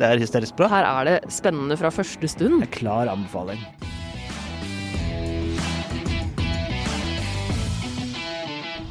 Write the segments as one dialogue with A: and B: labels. A: Det er hysterisk bra.
B: Her er det spennende fra første stund.
A: En klar anbefaling.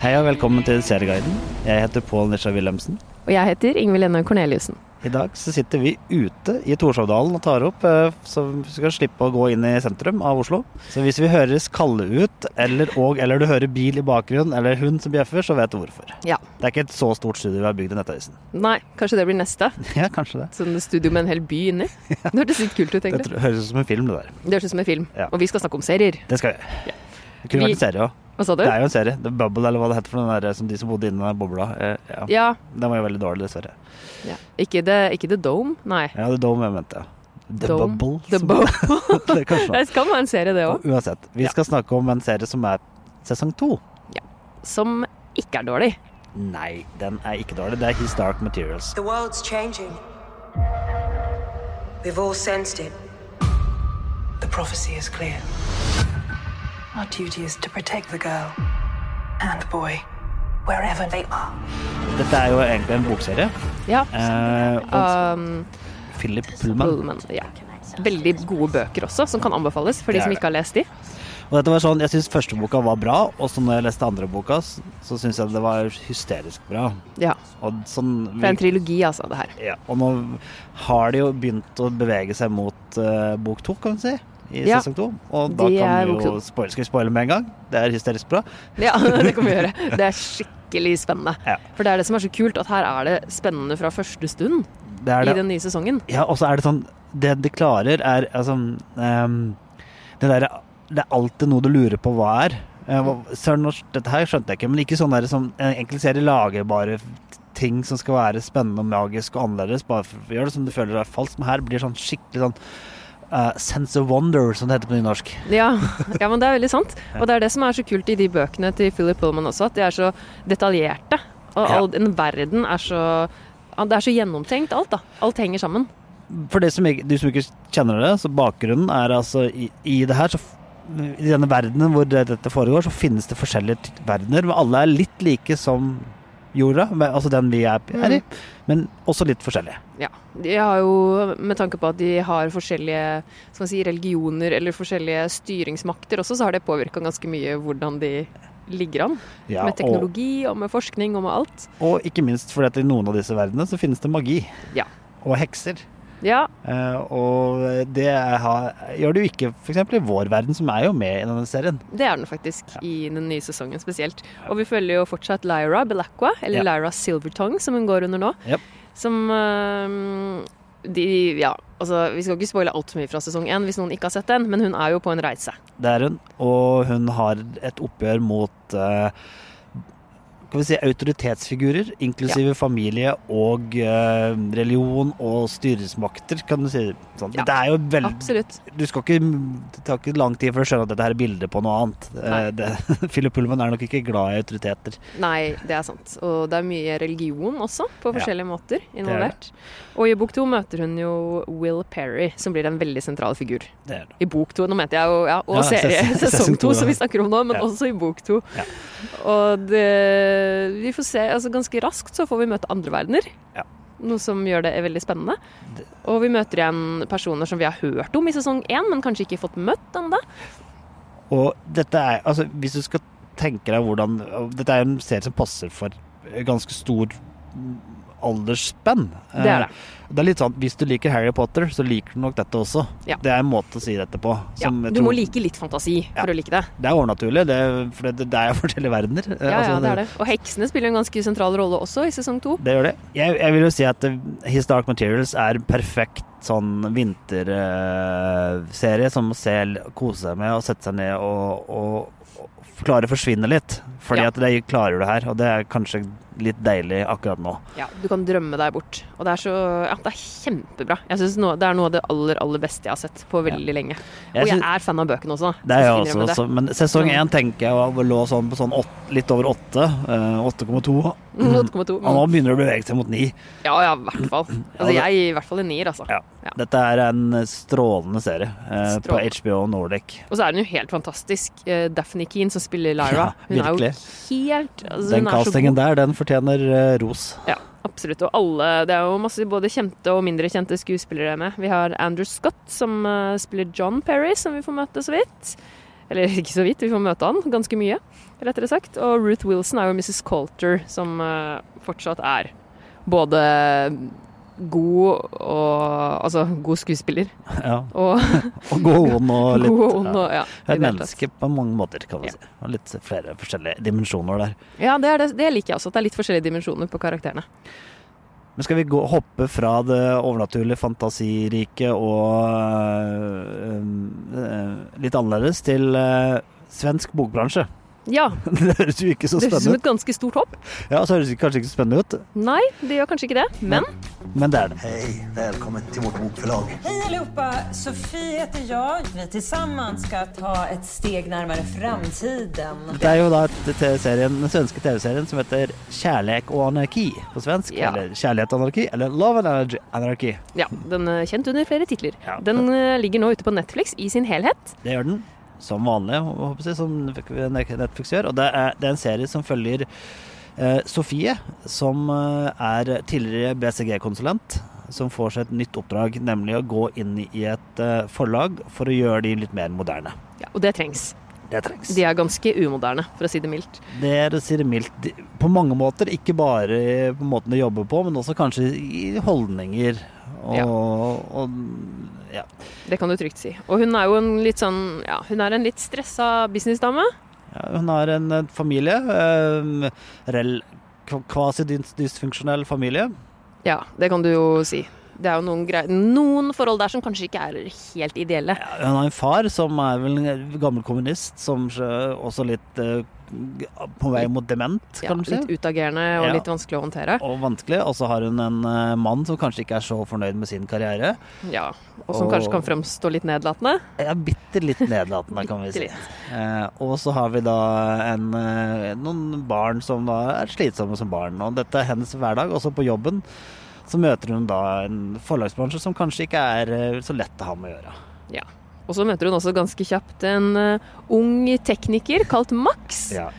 A: Hei og velkommen til Serieguiden. Jeg heter Pål Nisha Wilhelmsen.
B: Og jeg heter Ingvild Enne Corneliussen.
A: I dag så sitter vi ute i Torshovdalen og tar opp, eh, så vi skal slippe å gå inn i sentrum av Oslo. Så hvis vi høres kalde ut, eller, og, eller du hører bil i bakgrunnen, eller hund som bjeffer, så vet du hvorfor.
B: Ja.
A: Det er ikke et så stort studio vi har bygd i Nettavisen.
B: Nei, kanskje det blir neste.
A: Ja, kanskje det.
B: Sånn studio med en hel by inni. Det hørtes litt kult ut,
A: Det
B: egentlig.
A: tror- høres ut som en film, det der.
B: Det høres ut som en film.
A: Ja.
B: Og vi skal snakke om serier.
A: Det skal vi gjøre. Det kunne
B: Vi-
A: vært en serie òg.
B: Hva sa du?
A: Det er jo en serie. The Bubble, eller hva det heter for den der, som de som bodde inni den bobla. Eh, Ja.
B: Ja.
A: Den var jo veldig dårlig, dessverre.
B: ja. Ikke, the, ikke The Dome, nei.
A: Ja, The Dome jeg mente. The
B: Dome.
A: Bubble.
B: The
A: som-
B: Bo
A: det kan slå.
B: det kan være en serie, det òg.
A: Uansett, vi skal snakke om en serie som er sesong to.
B: Som ikke er dårlig.
A: Nei, den er ikke dårlig. Det er His Dark Materials.
C: The world's changing. We've all sensed it.
D: The prophecy is clear. Our duty is to protect the girl and boy, wherever they are.
A: Dette er jo egentlig en bokserie.
B: Ja.
A: Eh, og
B: Um,
A: Philip Pullman.
B: Pullman, ja. Veldig gode bøker også, som kan anbefales for de
A: Det er
B: som
A: det.
B: ikke har lest de.
A: Og dette var sånn, Jeg syns første boka var bra, og så når jeg leste andre boka, s- så syns jeg det var hysterisk bra.
B: Ja.
A: Og sånn
B: Det er en trilogi, altså, det her.
A: ja, Og nå har de jo begynt å bevege seg mot eh, bok to, kan vi si. I
B: Ja.
A: sesong to. Og da
B: De er
A: kan vi
B: bok
A: jo
B: to.
A: spoil, Skal vi spoile med en gang? Det er hysterisk bra.
B: Ja, det kan vi gjøre. Det er skikkelig spennende.
A: Ja.
B: For det er det som er så kult, at her er det spennende fra første stund
A: Det er
B: i
A: det
B: den nye sesongen.
A: Ja, og så er det sånn Det de klarer er altså ehm, Det derre Det er alltid noe du lurer på hva er. Eh, hva- Søren, nå- dette her skjønte jeg ikke, men ikke sånn der som en enkel serie lager bare ting som skal være spennende og magisk og annerledes, bare for å gjøre det som du føler er falskt. Men her blir det sånn skikkelig sånn eh, sense of wonder, som det heter på nynorsk.
B: Ja, ja, men det er veldig sant. Og det er det som er så kult i de bøkene til Philip Pullman også, at de er så detaljerte. Og
A: Ja.
B: all, en verden er så ja, Det er så gjennomtenkt, alt, da. Alt henger sammen.
A: For de som, ikke, de som ikke kjenner det, så bakgrunnen er altså i, i det her så f- i denne verdenen hvor det, dette foregår, så finnes det forskjellige ty- verdener, men alle er litt like som jorda, men- altså den vi er, er i,
B: Mm.
A: men også litt forskjellige.
B: Ja. De har jo, med tanke på at de har forskjellige skal man si, religioner eller forskjellige styringsmakter også, så har det påvirka ganske mye hvordan de ligger an.
A: Ja,
B: med
A: og,
B: teknologi og med forskning og med alt.
A: og ikke minst fordi at i noen av disse verdenene så finnes det magi.
B: Ja.
A: Og hekser.
B: Ja,
A: Eh, og det er, har, gjør det jo ikke f.eks. i vår verden, som er jo med i denne serien.
B: det er den faktisk i den nye sesongen spesielt. Og vi følger jo fortsatt Lyra Belacqua, eller
A: Ja.
B: Lyra Silvertongue som hun går under nå.
A: Japp.
B: Som øhm, de Ja, altså vi skal ikke spoile altfor mye fra sesong én hvis noen ikke har sett den, men hun er jo på en reise.
A: Det er hun. Og hun har et oppgjør mot eh, skal vi si, autoritetsfigurer, inklusive familie og eh, religion og styresmakter, kan du si. Sånn.
B: Ja,
A: Det er jo veldig
B: Absolutt.
A: du skal ikke, Det tar ikke lang tid før du skjønner at dette her er bilde på noe annet.
B: Nei.
A: Eh, det, Philip Pullman er nok ikke glad i autoriteter.
B: Nei, det er sant. Og det er mye religion også, på
A: Ja.
B: forskjellige måter involvert. Og i bok to møter hun jo Will Perry, som blir en veldig sentral figur.
A: Det er det.
B: I bok to, nå mente jeg jo ja, og
A: Ja,
B: serie,
A: ses-
B: sesong
A: sesong
B: to,
A: to,
B: som
A: ja.
B: vi snakker om nå, men
A: Ja.
B: også i bok to.
A: Ja.
B: Og det, vi får se, altså ganske raskt så får vi møte andre verdener.
A: Ja.
B: Noe som gjør det veldig spennende. Og vi møter igjen personer som vi har hørt om i sesong én, men kanskje ikke fått møtt ennå.
A: Og dette er, altså hvis du skal tenke deg hvordan og Dette er jo en serie som passer for eh, ganske stor aldersspenn.
B: Det er det.
A: Eh, Det er litt sånn, Hvis du liker Harry Potter, så liker du nok dette også.
B: Ja.
A: Det er en måte å si dette på.
B: Ja,
A: som jeg
B: du må
A: tror-
B: like litt fantasi
A: Ja.
B: for å like det.
A: Det er overnaturlig, det, er- for det, det er jo forskjellige verdener. Eh,
B: Ja, ja,
A: altså,
B: det er det. Og heksene spiller en ganske sentral rolle også i sesong to.
A: Det gjør det. Jeg, jeg vil jo si at eh, His Dark Materials er en perfekt sånn vinterserie som å se, kose seg med og sette seg ned og, og, og klare å forsvinne litt. Fordi
B: Ja.
A: at det klarer du her, og det er kanskje litt deilig akkurat nå.
B: Ja, du kan drømme deg bort. Og det er så Ja, det er kjempebra. Jeg synes nå- Det er noe av det aller, aller beste jeg har sett på veldig lenge.
A: Jeg
B: Og jeg
A: synes-
B: er fan av bøkene også.
A: Det er jeg
B: skal
A: også,
B: innrømme det.
A: så- men sesong
B: Ja.
A: én tenker jeg var- lå sånn på sånn åt, litt over åtte. eh, 8,2.
B: Mm, 8,2.
A: Og nå begynner det å bevege seg mot ni.
B: Ja, ja, i hvert fall. Altså,
A: det-
B: jeg gir i hvert fall en nier, altså.
A: Ja.
B: Ja.
A: Dette er en strålende serie eh, på
B: Strålende.
A: HBO Nordic.
B: Og så er den jo helt fantastisk. Eh, Daphne Keane som spiller Lyra.
A: Ja,
B: hun er jo
A: virkelig.
B: helt altså,
A: Den
B: hun er så
A: castingen
B: god.
A: der, den fortjener eh, ros.
B: Ja, Absolutt. Og alle Det er jo masse både kjente og mindre kjente skuespillere med. Vi har Andrew Scott, som eh, spiller John Perry, som vi får møte så vidt. Eller ikke så vidt, vi får møte han ganske mye, rettere sagt. Og Ruth Wilson er jo Mrs. Coulter, som eh, fortsatt er både god og Altså god skuespiller.
A: Ja.
B: Og
A: Og gå ond og litt
B: god og ond og ja. i
A: ja. Et
B: det hele tatt.
A: menneske på mange måter, kan vi
B: Ja.
A: si. Og litt flere forskjellige dimensjoner der.
B: Ja, det, er det, det liker jeg også. At det er litt forskjellige dimensjoner på karakterene.
A: Men skal vi gå, hoppe fra det overnaturlige, fantasirike og øh, øh, litt annerledes til øh, svensk bokbransje?
B: Ja,
A: Det høres jo ikke så
B: det høres ut som
A: spennende ut.
B: et ganske stort hopp.
A: Ja, så høres det kanskje ikke spennende ut,
B: Nei, det gjør kanskje ikke det, men
A: men det er det.
E: Hej, välkommen till vårt bokförlag.
F: Hej allihopa! Sofie heter jag. Vi tillsammans ska ta ett steg närmare framtiden.
A: Det er jo da t- TV-serien, den svenske TV-serien som heter Kjærlek og anarki på svensk.
B: Ja.
A: Eller Kjærlighet og anarki, eller Love and Anarchy- Anarchy.
B: ja, den er kjent under flere titler.
A: Ja.
B: Den eh, ligger nå ute på Netflix i sin helhet.
A: Det gjør den, som vanlig, hå- håper jeg, som Netflix gjør. Og det er, det er en serie som følger eh, Sofie, som eh, er tidligere BCG-konsulent, som får seg et nytt oppdrag, nemlig å gå inn i et eh, forlag for å gjøre de litt mer moderne.
B: Ja, og det trengs.
A: Det trengs.
B: De er ganske umoderne, for å si det mildt.
A: Det er å si det mildt. de- På mange måter, ikke bare på måten de jobber på, men også kanskje i holdninger og
B: Ja.
A: ja. Og, ja.
B: Det kan du trygt si. Og hun er jo en litt sånn Ja, hun er en litt stressa businessdame.
A: Ja, hun har en eh, familie, eh, rel, kv- kvasi-dysfunksjonell familie.
B: Ja, det kan du jo si. Det er jo noen, grei- noen forhold der som kanskje ikke er helt ideelle.
A: Ja, Hun har en far som er vel en gammel kommunist, som eh, også litt eh, g- på vei mot dement,
B: Ja,
A: kan du si.
B: litt utagerende og
A: Ja.
B: litt vanskelig å håndtere.
A: Og vanskelig. Og så har hun en eh, mann som kanskje ikke er så fornøyd med sin karriere.
B: Ja, Og som
A: Og-
B: kanskje kan fremstå litt nedlatende.
A: Ja, bitte litt nedlatende, kan vi si.
B: Bittelitt.
A: Eh, og så har vi da en, eh, noen barn som da er slitsomme som barn. Og dette er hennes hverdag, også på jobben. Så møter hun da en forlagsbransje som kanskje ikke er eh, så lett å ha med å gjøre.
B: Ja. Og så møter hun også ganske kjapt en eh, ung tekniker kalt Max.
A: Ja,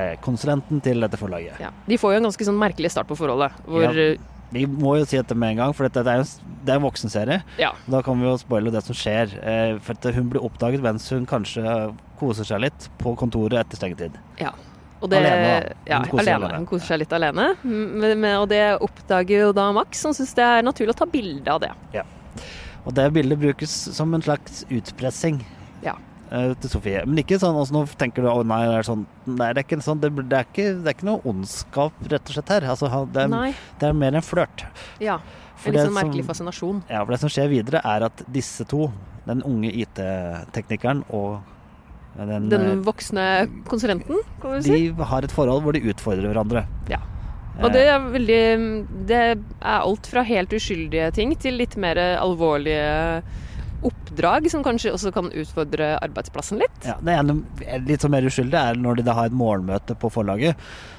A: IT-konsulenten til dette forlaget.
B: Ja. De får jo en ganske sånn merkelig start på forholdet. Hvor,
A: Ja.
B: eh,
A: Vi må jo si dette med en gang, for dette er jo en- det er en voksenserie.
B: ja.
A: Da kan vi jo spoile det som skjer. eh, For at hun blir oppdaget mens hun kanskje eh, koser seg litt på kontoret etter stengetid.
B: ja. Og det,
A: Alene, da.
B: Ja,
A: Hun koser seg
B: alene.
A: alene.
B: Hun koser seg litt alene. Mm, Men, men, og det oppdager jo da Max, som syns det er naturlig å ta bilde av det.
A: Og det bildet brukes som en slags utpressing
B: Ja.
A: eh, til Sofie. Men ikke sånn altså, Nå tenker du å nei, det er sånn Nei, det er ikke en sånn Det, det, er, ikke, det er ikke noe ondskap, rett og slett, her. Altså, han- det, er,
B: Nei.
A: det er mer en flørt.
B: Ja.
A: For
B: En litt
A: det
B: sånn
A: som-
B: merkelig fascinasjon.
A: Ja, for det som skjer videre, er at disse to, den unge IT-teknikeren og den,
B: Den
A: eh,
B: voksne konsulenten, kan vi si.
A: De har et forhold hvor de utfordrer hverandre.
B: Ja.
A: Eh,
B: Og det er veldig mm, Det er alt fra helt uskyldige ting til litt mer alvorlige oppdrag som kanskje også kan utfordre arbeidsplassen litt.
A: Eh, Ja, det ene er litt sånn mer uskyldig er når de da har et morgenmøte på forlaget.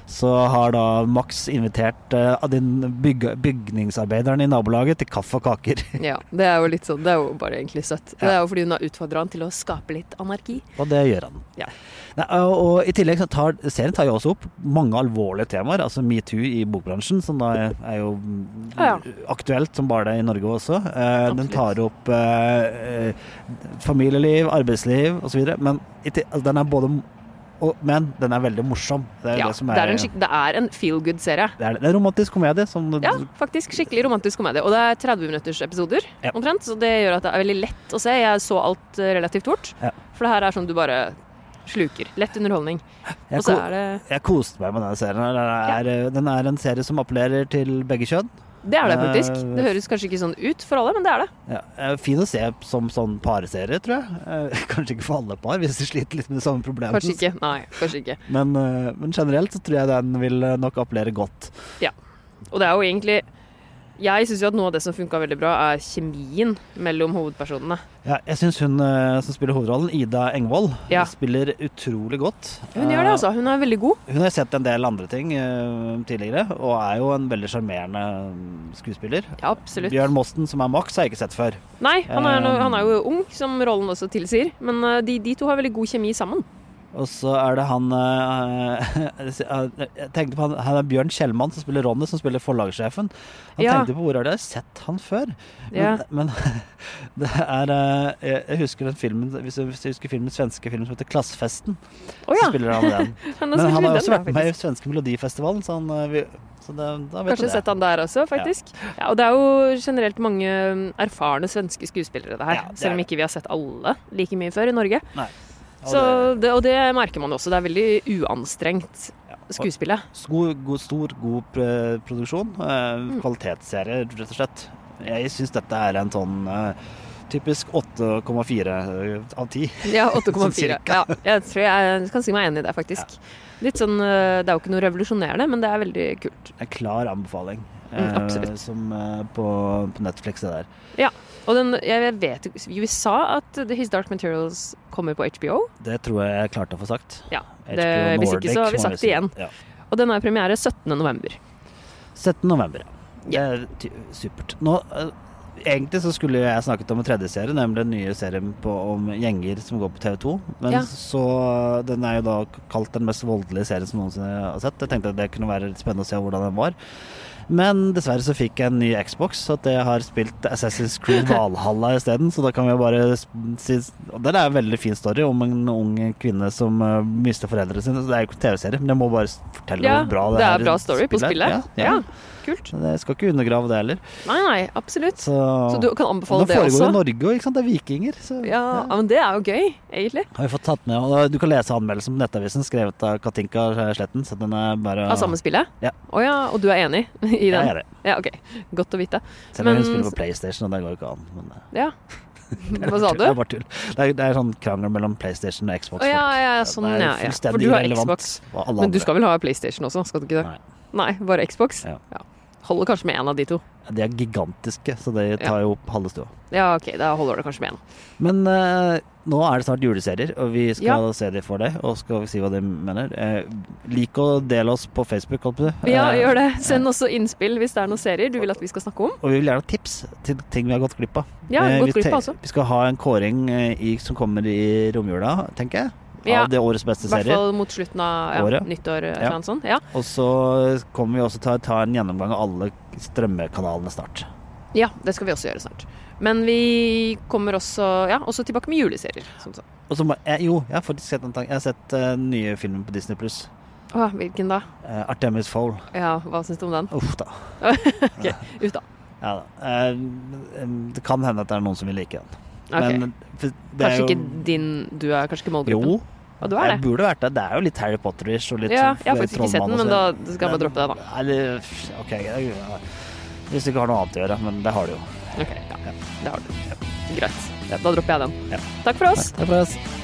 A: Så har da Max invitert eh, av din bygge, bygningsarbeideren i nabolaget til kaffe og kaker.
B: Ja, det er jo litt sånn, det er jo bare egentlig søtt. Det er jo fordi hun har utfordra han til å skape litt anarki.
A: Og det gjør han.
B: Ja.
A: Nei, og, og i tillegg så tar serien tar jo også opp mange alvorlige temaer, altså metoo i bokbransjen, som da er jo mm,
B: Ja, ja.
A: aktuelt som bare det i Norge også. Eh, den
B: Absolutt.
A: tar opp eh, eh, familieliv, arbeidsliv osv. Men i til- altså, den er både m- og, Men den er veldig morsom. Det er
B: Ja,
A: det som
B: det er en, skikk- det er en feel good-serie.
A: Det er, det er en romantisk komedie som
B: Ja, faktisk skikkelig romantisk komedie. Og det er 30 minutters episoder
A: Ja.
B: omtrent, så det gjør at det er veldig lett å se. Jeg så alt eh, relativt fort,
A: Ja.
B: for det her er sånn du bare sluker. Lett underholdning.
A: jeg,
B: Og så
A: ko-
B: er det
A: jeg koste meg med denne serien. her. Den er, eh, den er en serie som appellerer til begge kjønn.
B: Det er det faktisk.
A: Eh,
B: Det høres kanskje ikke sånn ut for alle, men det er det.
A: Ja, eh, fin å se som sånn pareserie, tror jeg. Eh, Kanskje ikke for alle par, hvis de sliter litt med de samme problemene.
B: Kanskje ikke. Nei, kanskje ikke.
A: Men, eh, men generelt så tror jeg den vil eh, nok appellere godt.
B: Og det er jo egentlig Jeg syns jo at noe av det som funka veldig bra, er kjemien mellom hovedpersonene.
A: Ja, jeg syns hun eh, som spiller hovedrollen, Ida Engvold,
B: Ja.
A: spiller utrolig godt.
B: Hun gjør det,
A: Eh,
B: altså. Hun er veldig god.
A: Hun har sett en del andre ting eh, tidligere, og er jo en veldig sjarmerende mm, skuespiller.
B: Ja, absolutt.
A: Bjørn Mosten, som er Max, har jeg ikke sett før.
B: Nei, han er,
A: Eh,
B: han er jo ung, som rollen også tilsier. Men eh, de, de to har veldig god kjemi sammen.
A: Og så er det han eh, Jeg tenkte på han, han er Bjørn Kjellmann som spiller Ronny, som spiller forlagssjefen. Han
B: Ja.
A: tenkte på hvor har jeg sett han før?
B: Ja.
A: Men, eh, men det er eh, Jeg jeg husker den filmen Hvis du hvis du husker filmen, svenske filmen som heter 'Klassfesten',
B: Å
A: så
B: ja.
A: spiller han den.
B: Han
A: Men
B: har
A: han
B: spilt
A: har
B: i
A: også
B: den,
A: vært med
B: da,
A: i
B: faktisk.
A: svenske melodifestivalen, så, han, eh, vi, så det, da vet
B: Kanskje
A: du det.
B: sett han der også, faktisk. Ja. og det er jo generelt mange mm, erfarne svenske skuespillere, det her.
A: Ja, det er
B: selv om
A: det.
B: ikke vi har sett alle like mye før i Norge.
A: Nei. Og
B: Så
A: det-
B: det, og det merker man jo også. Det er veldig uanstrengt skuespillet.
A: Stor, god, stor, god pr- produksjon. eh,
B: Mm.
A: Kvalitetsserie, rett og slett. Jeg syns dette er en sånn eh, typisk 8,4 eh, av 10.
B: Ja,
A: Sånn
B: 8,4.
A: cirka.
B: Ja, jeg tror jeg kan si meg enig i det, faktisk. Litt sånn, eh, Det er jo ikke noe revolusjonerende, men det er veldig kult.
A: En klar anbefaling.
B: Mm,
A: eh,
B: absolutt.
A: som eh, på, på Netflix, det der.
B: Ja, og den, jeg vet jo Vi sa at The His Dark Materials kommer på HBO.
A: Det tror jeg jeg klarte å få sagt.
B: Ja,
A: HBO
B: det, Hvis
A: Nordic,
B: ikke, så har vi
A: må man
B: sagt
A: si.
B: det igjen.
A: Ja.
B: Og den har premiere 17. november.
A: 17. november, ja. Det er ty- supert. Nå, eh, egentlig så skulle jeg snakket om en tredje serie, nemlig den nye serien på, om gjenger som går på TV 2. Men
B: Ja.
A: så Den er jo da kalt den mest voldelige serien som noensinne har sett. Jeg tenkte at det kunne være litt spennende å se hvordan den var. Men dessverre så fikk jeg en ny Xbox, så at jeg har spilt Assassin's Creed Valhalla isteden. Så da kan vi jo bare sp- si og Den er en veldig fin story om en ung kvinne som eh, mister foreldrene sine. Så det er jo ikke TV-serie, men jeg må bare s- fortelle
B: Ja,
A: hvor bra det,
B: det
A: her
B: er bra story på
A: spillet er.
B: spillet. Ja, kult.
A: Så Det skal ikke undergrave det heller.
B: Nei, nei, absolutt.
A: Så,
B: Så du kan anbefale
A: Og
B: det
A: foregår i
B: også?
A: Norge òg, ikke sant. Det er vikinger. Så,
B: Ja, ja, men det er jo gøy, egentlig.
A: Har vi fått tatt med, og Du kan lese anmeldelsen på Nettavisen skrevet av Katinka Sletten. Så den er bare
B: Av samme spillet?
A: Ja.
B: Å ja, og du er enig i den?
A: Jeg er det.
B: Ja, ok. Godt å vite.
A: Selv om
B: Men-
A: hun spiller på PlayStation, og det går jo ikke an. Men, eh,
B: Ja. Hva sa du?
A: Det er bare tull. Det er, det er sånn krangel mellom PlayStation og Xbox.
B: Å ja, ja,
A: folk.
B: sånn,
A: det
B: ja,
A: er
B: ja. For
A: fullstendig
B: du har
A: irrelevant
B: Xbox.
A: hva alle
B: Men du
A: andre-
B: skal vel ha PlayStation også, skal du ikke det?
A: Nei.
B: Nei, bare Xbox?
A: Ja.
B: Holder kanskje med én av de to.
A: De er gigantiske, så de tar jo opp halve stua.
B: Ja, ok, da holder det kanskje med én.
A: Men eh, nå er det snart juleserier, og vi skal
B: Ja.
A: se de for deg. Og skal vi si hva de mener. Eh, lik å dele oss på Facebook, holdt på å si.
B: Ja,
A: Eh,
B: gjør det. Send også innspill hvis det er noen serier du vil at vi skal snakke om.
A: Og vi vil gjerne ha tips til ting vi har gått glipp av.
B: Ja,
A: Eh,
B: gått
A: vi,
B: glipp av altså.
A: te-
B: også.
A: vi skal ha en kåring eh, i, som kommer i romjula, tenker jeg.
B: Ja.
A: Av det årets
B: I
A: beste
B: hvert
A: serier.
B: fall mot slutten av ja,
A: Året.
B: nyttår.
A: Ja.
B: Ja. Sånn. Ja.
A: Og så kommer vi også til å ta en gjennomgang av alle strømmekanalene snart.
B: ja, det skal vi også gjøre snart. Men vi kommer også, ja, også tilbake med juleserier. Som sagt.
A: Og så må, jeg, jo, jeg har faktisk sett en tanke. Jeg har sett eh, den nye filmen på Disney pluss.
B: Å, hvilken da?
A: Eh, Artemis Fowl.
B: Ja, hva syns du om den?
A: Uff da.
B: Ut, da.
A: Ja, da. Eh, det kan hende at det er noen som vil like den.
B: Ok.
A: Men eh, for det er
B: Kanskje
A: jo
B: ikke din Du er kanskje ikke målgruppen?
A: Jo.
B: Og du er
A: Jeg
B: det?
A: burde vært det. Det er jo litt Harry Potter-ish og litt
B: Ja,
A: sånn
B: jeg har faktisk ikke sett
A: trollmann og
B: den, men da
A: sånn.
B: skal jeg bare droppe det, da.
A: Eller pff, OK. jeg- ja. Hvis du ikke har noe annet å gjøre, men det har du jo.
B: Ok, ja. Det har du. Greit. Da dropper jeg den.
A: Ja.
B: Takk for oss.
A: Takk for oss.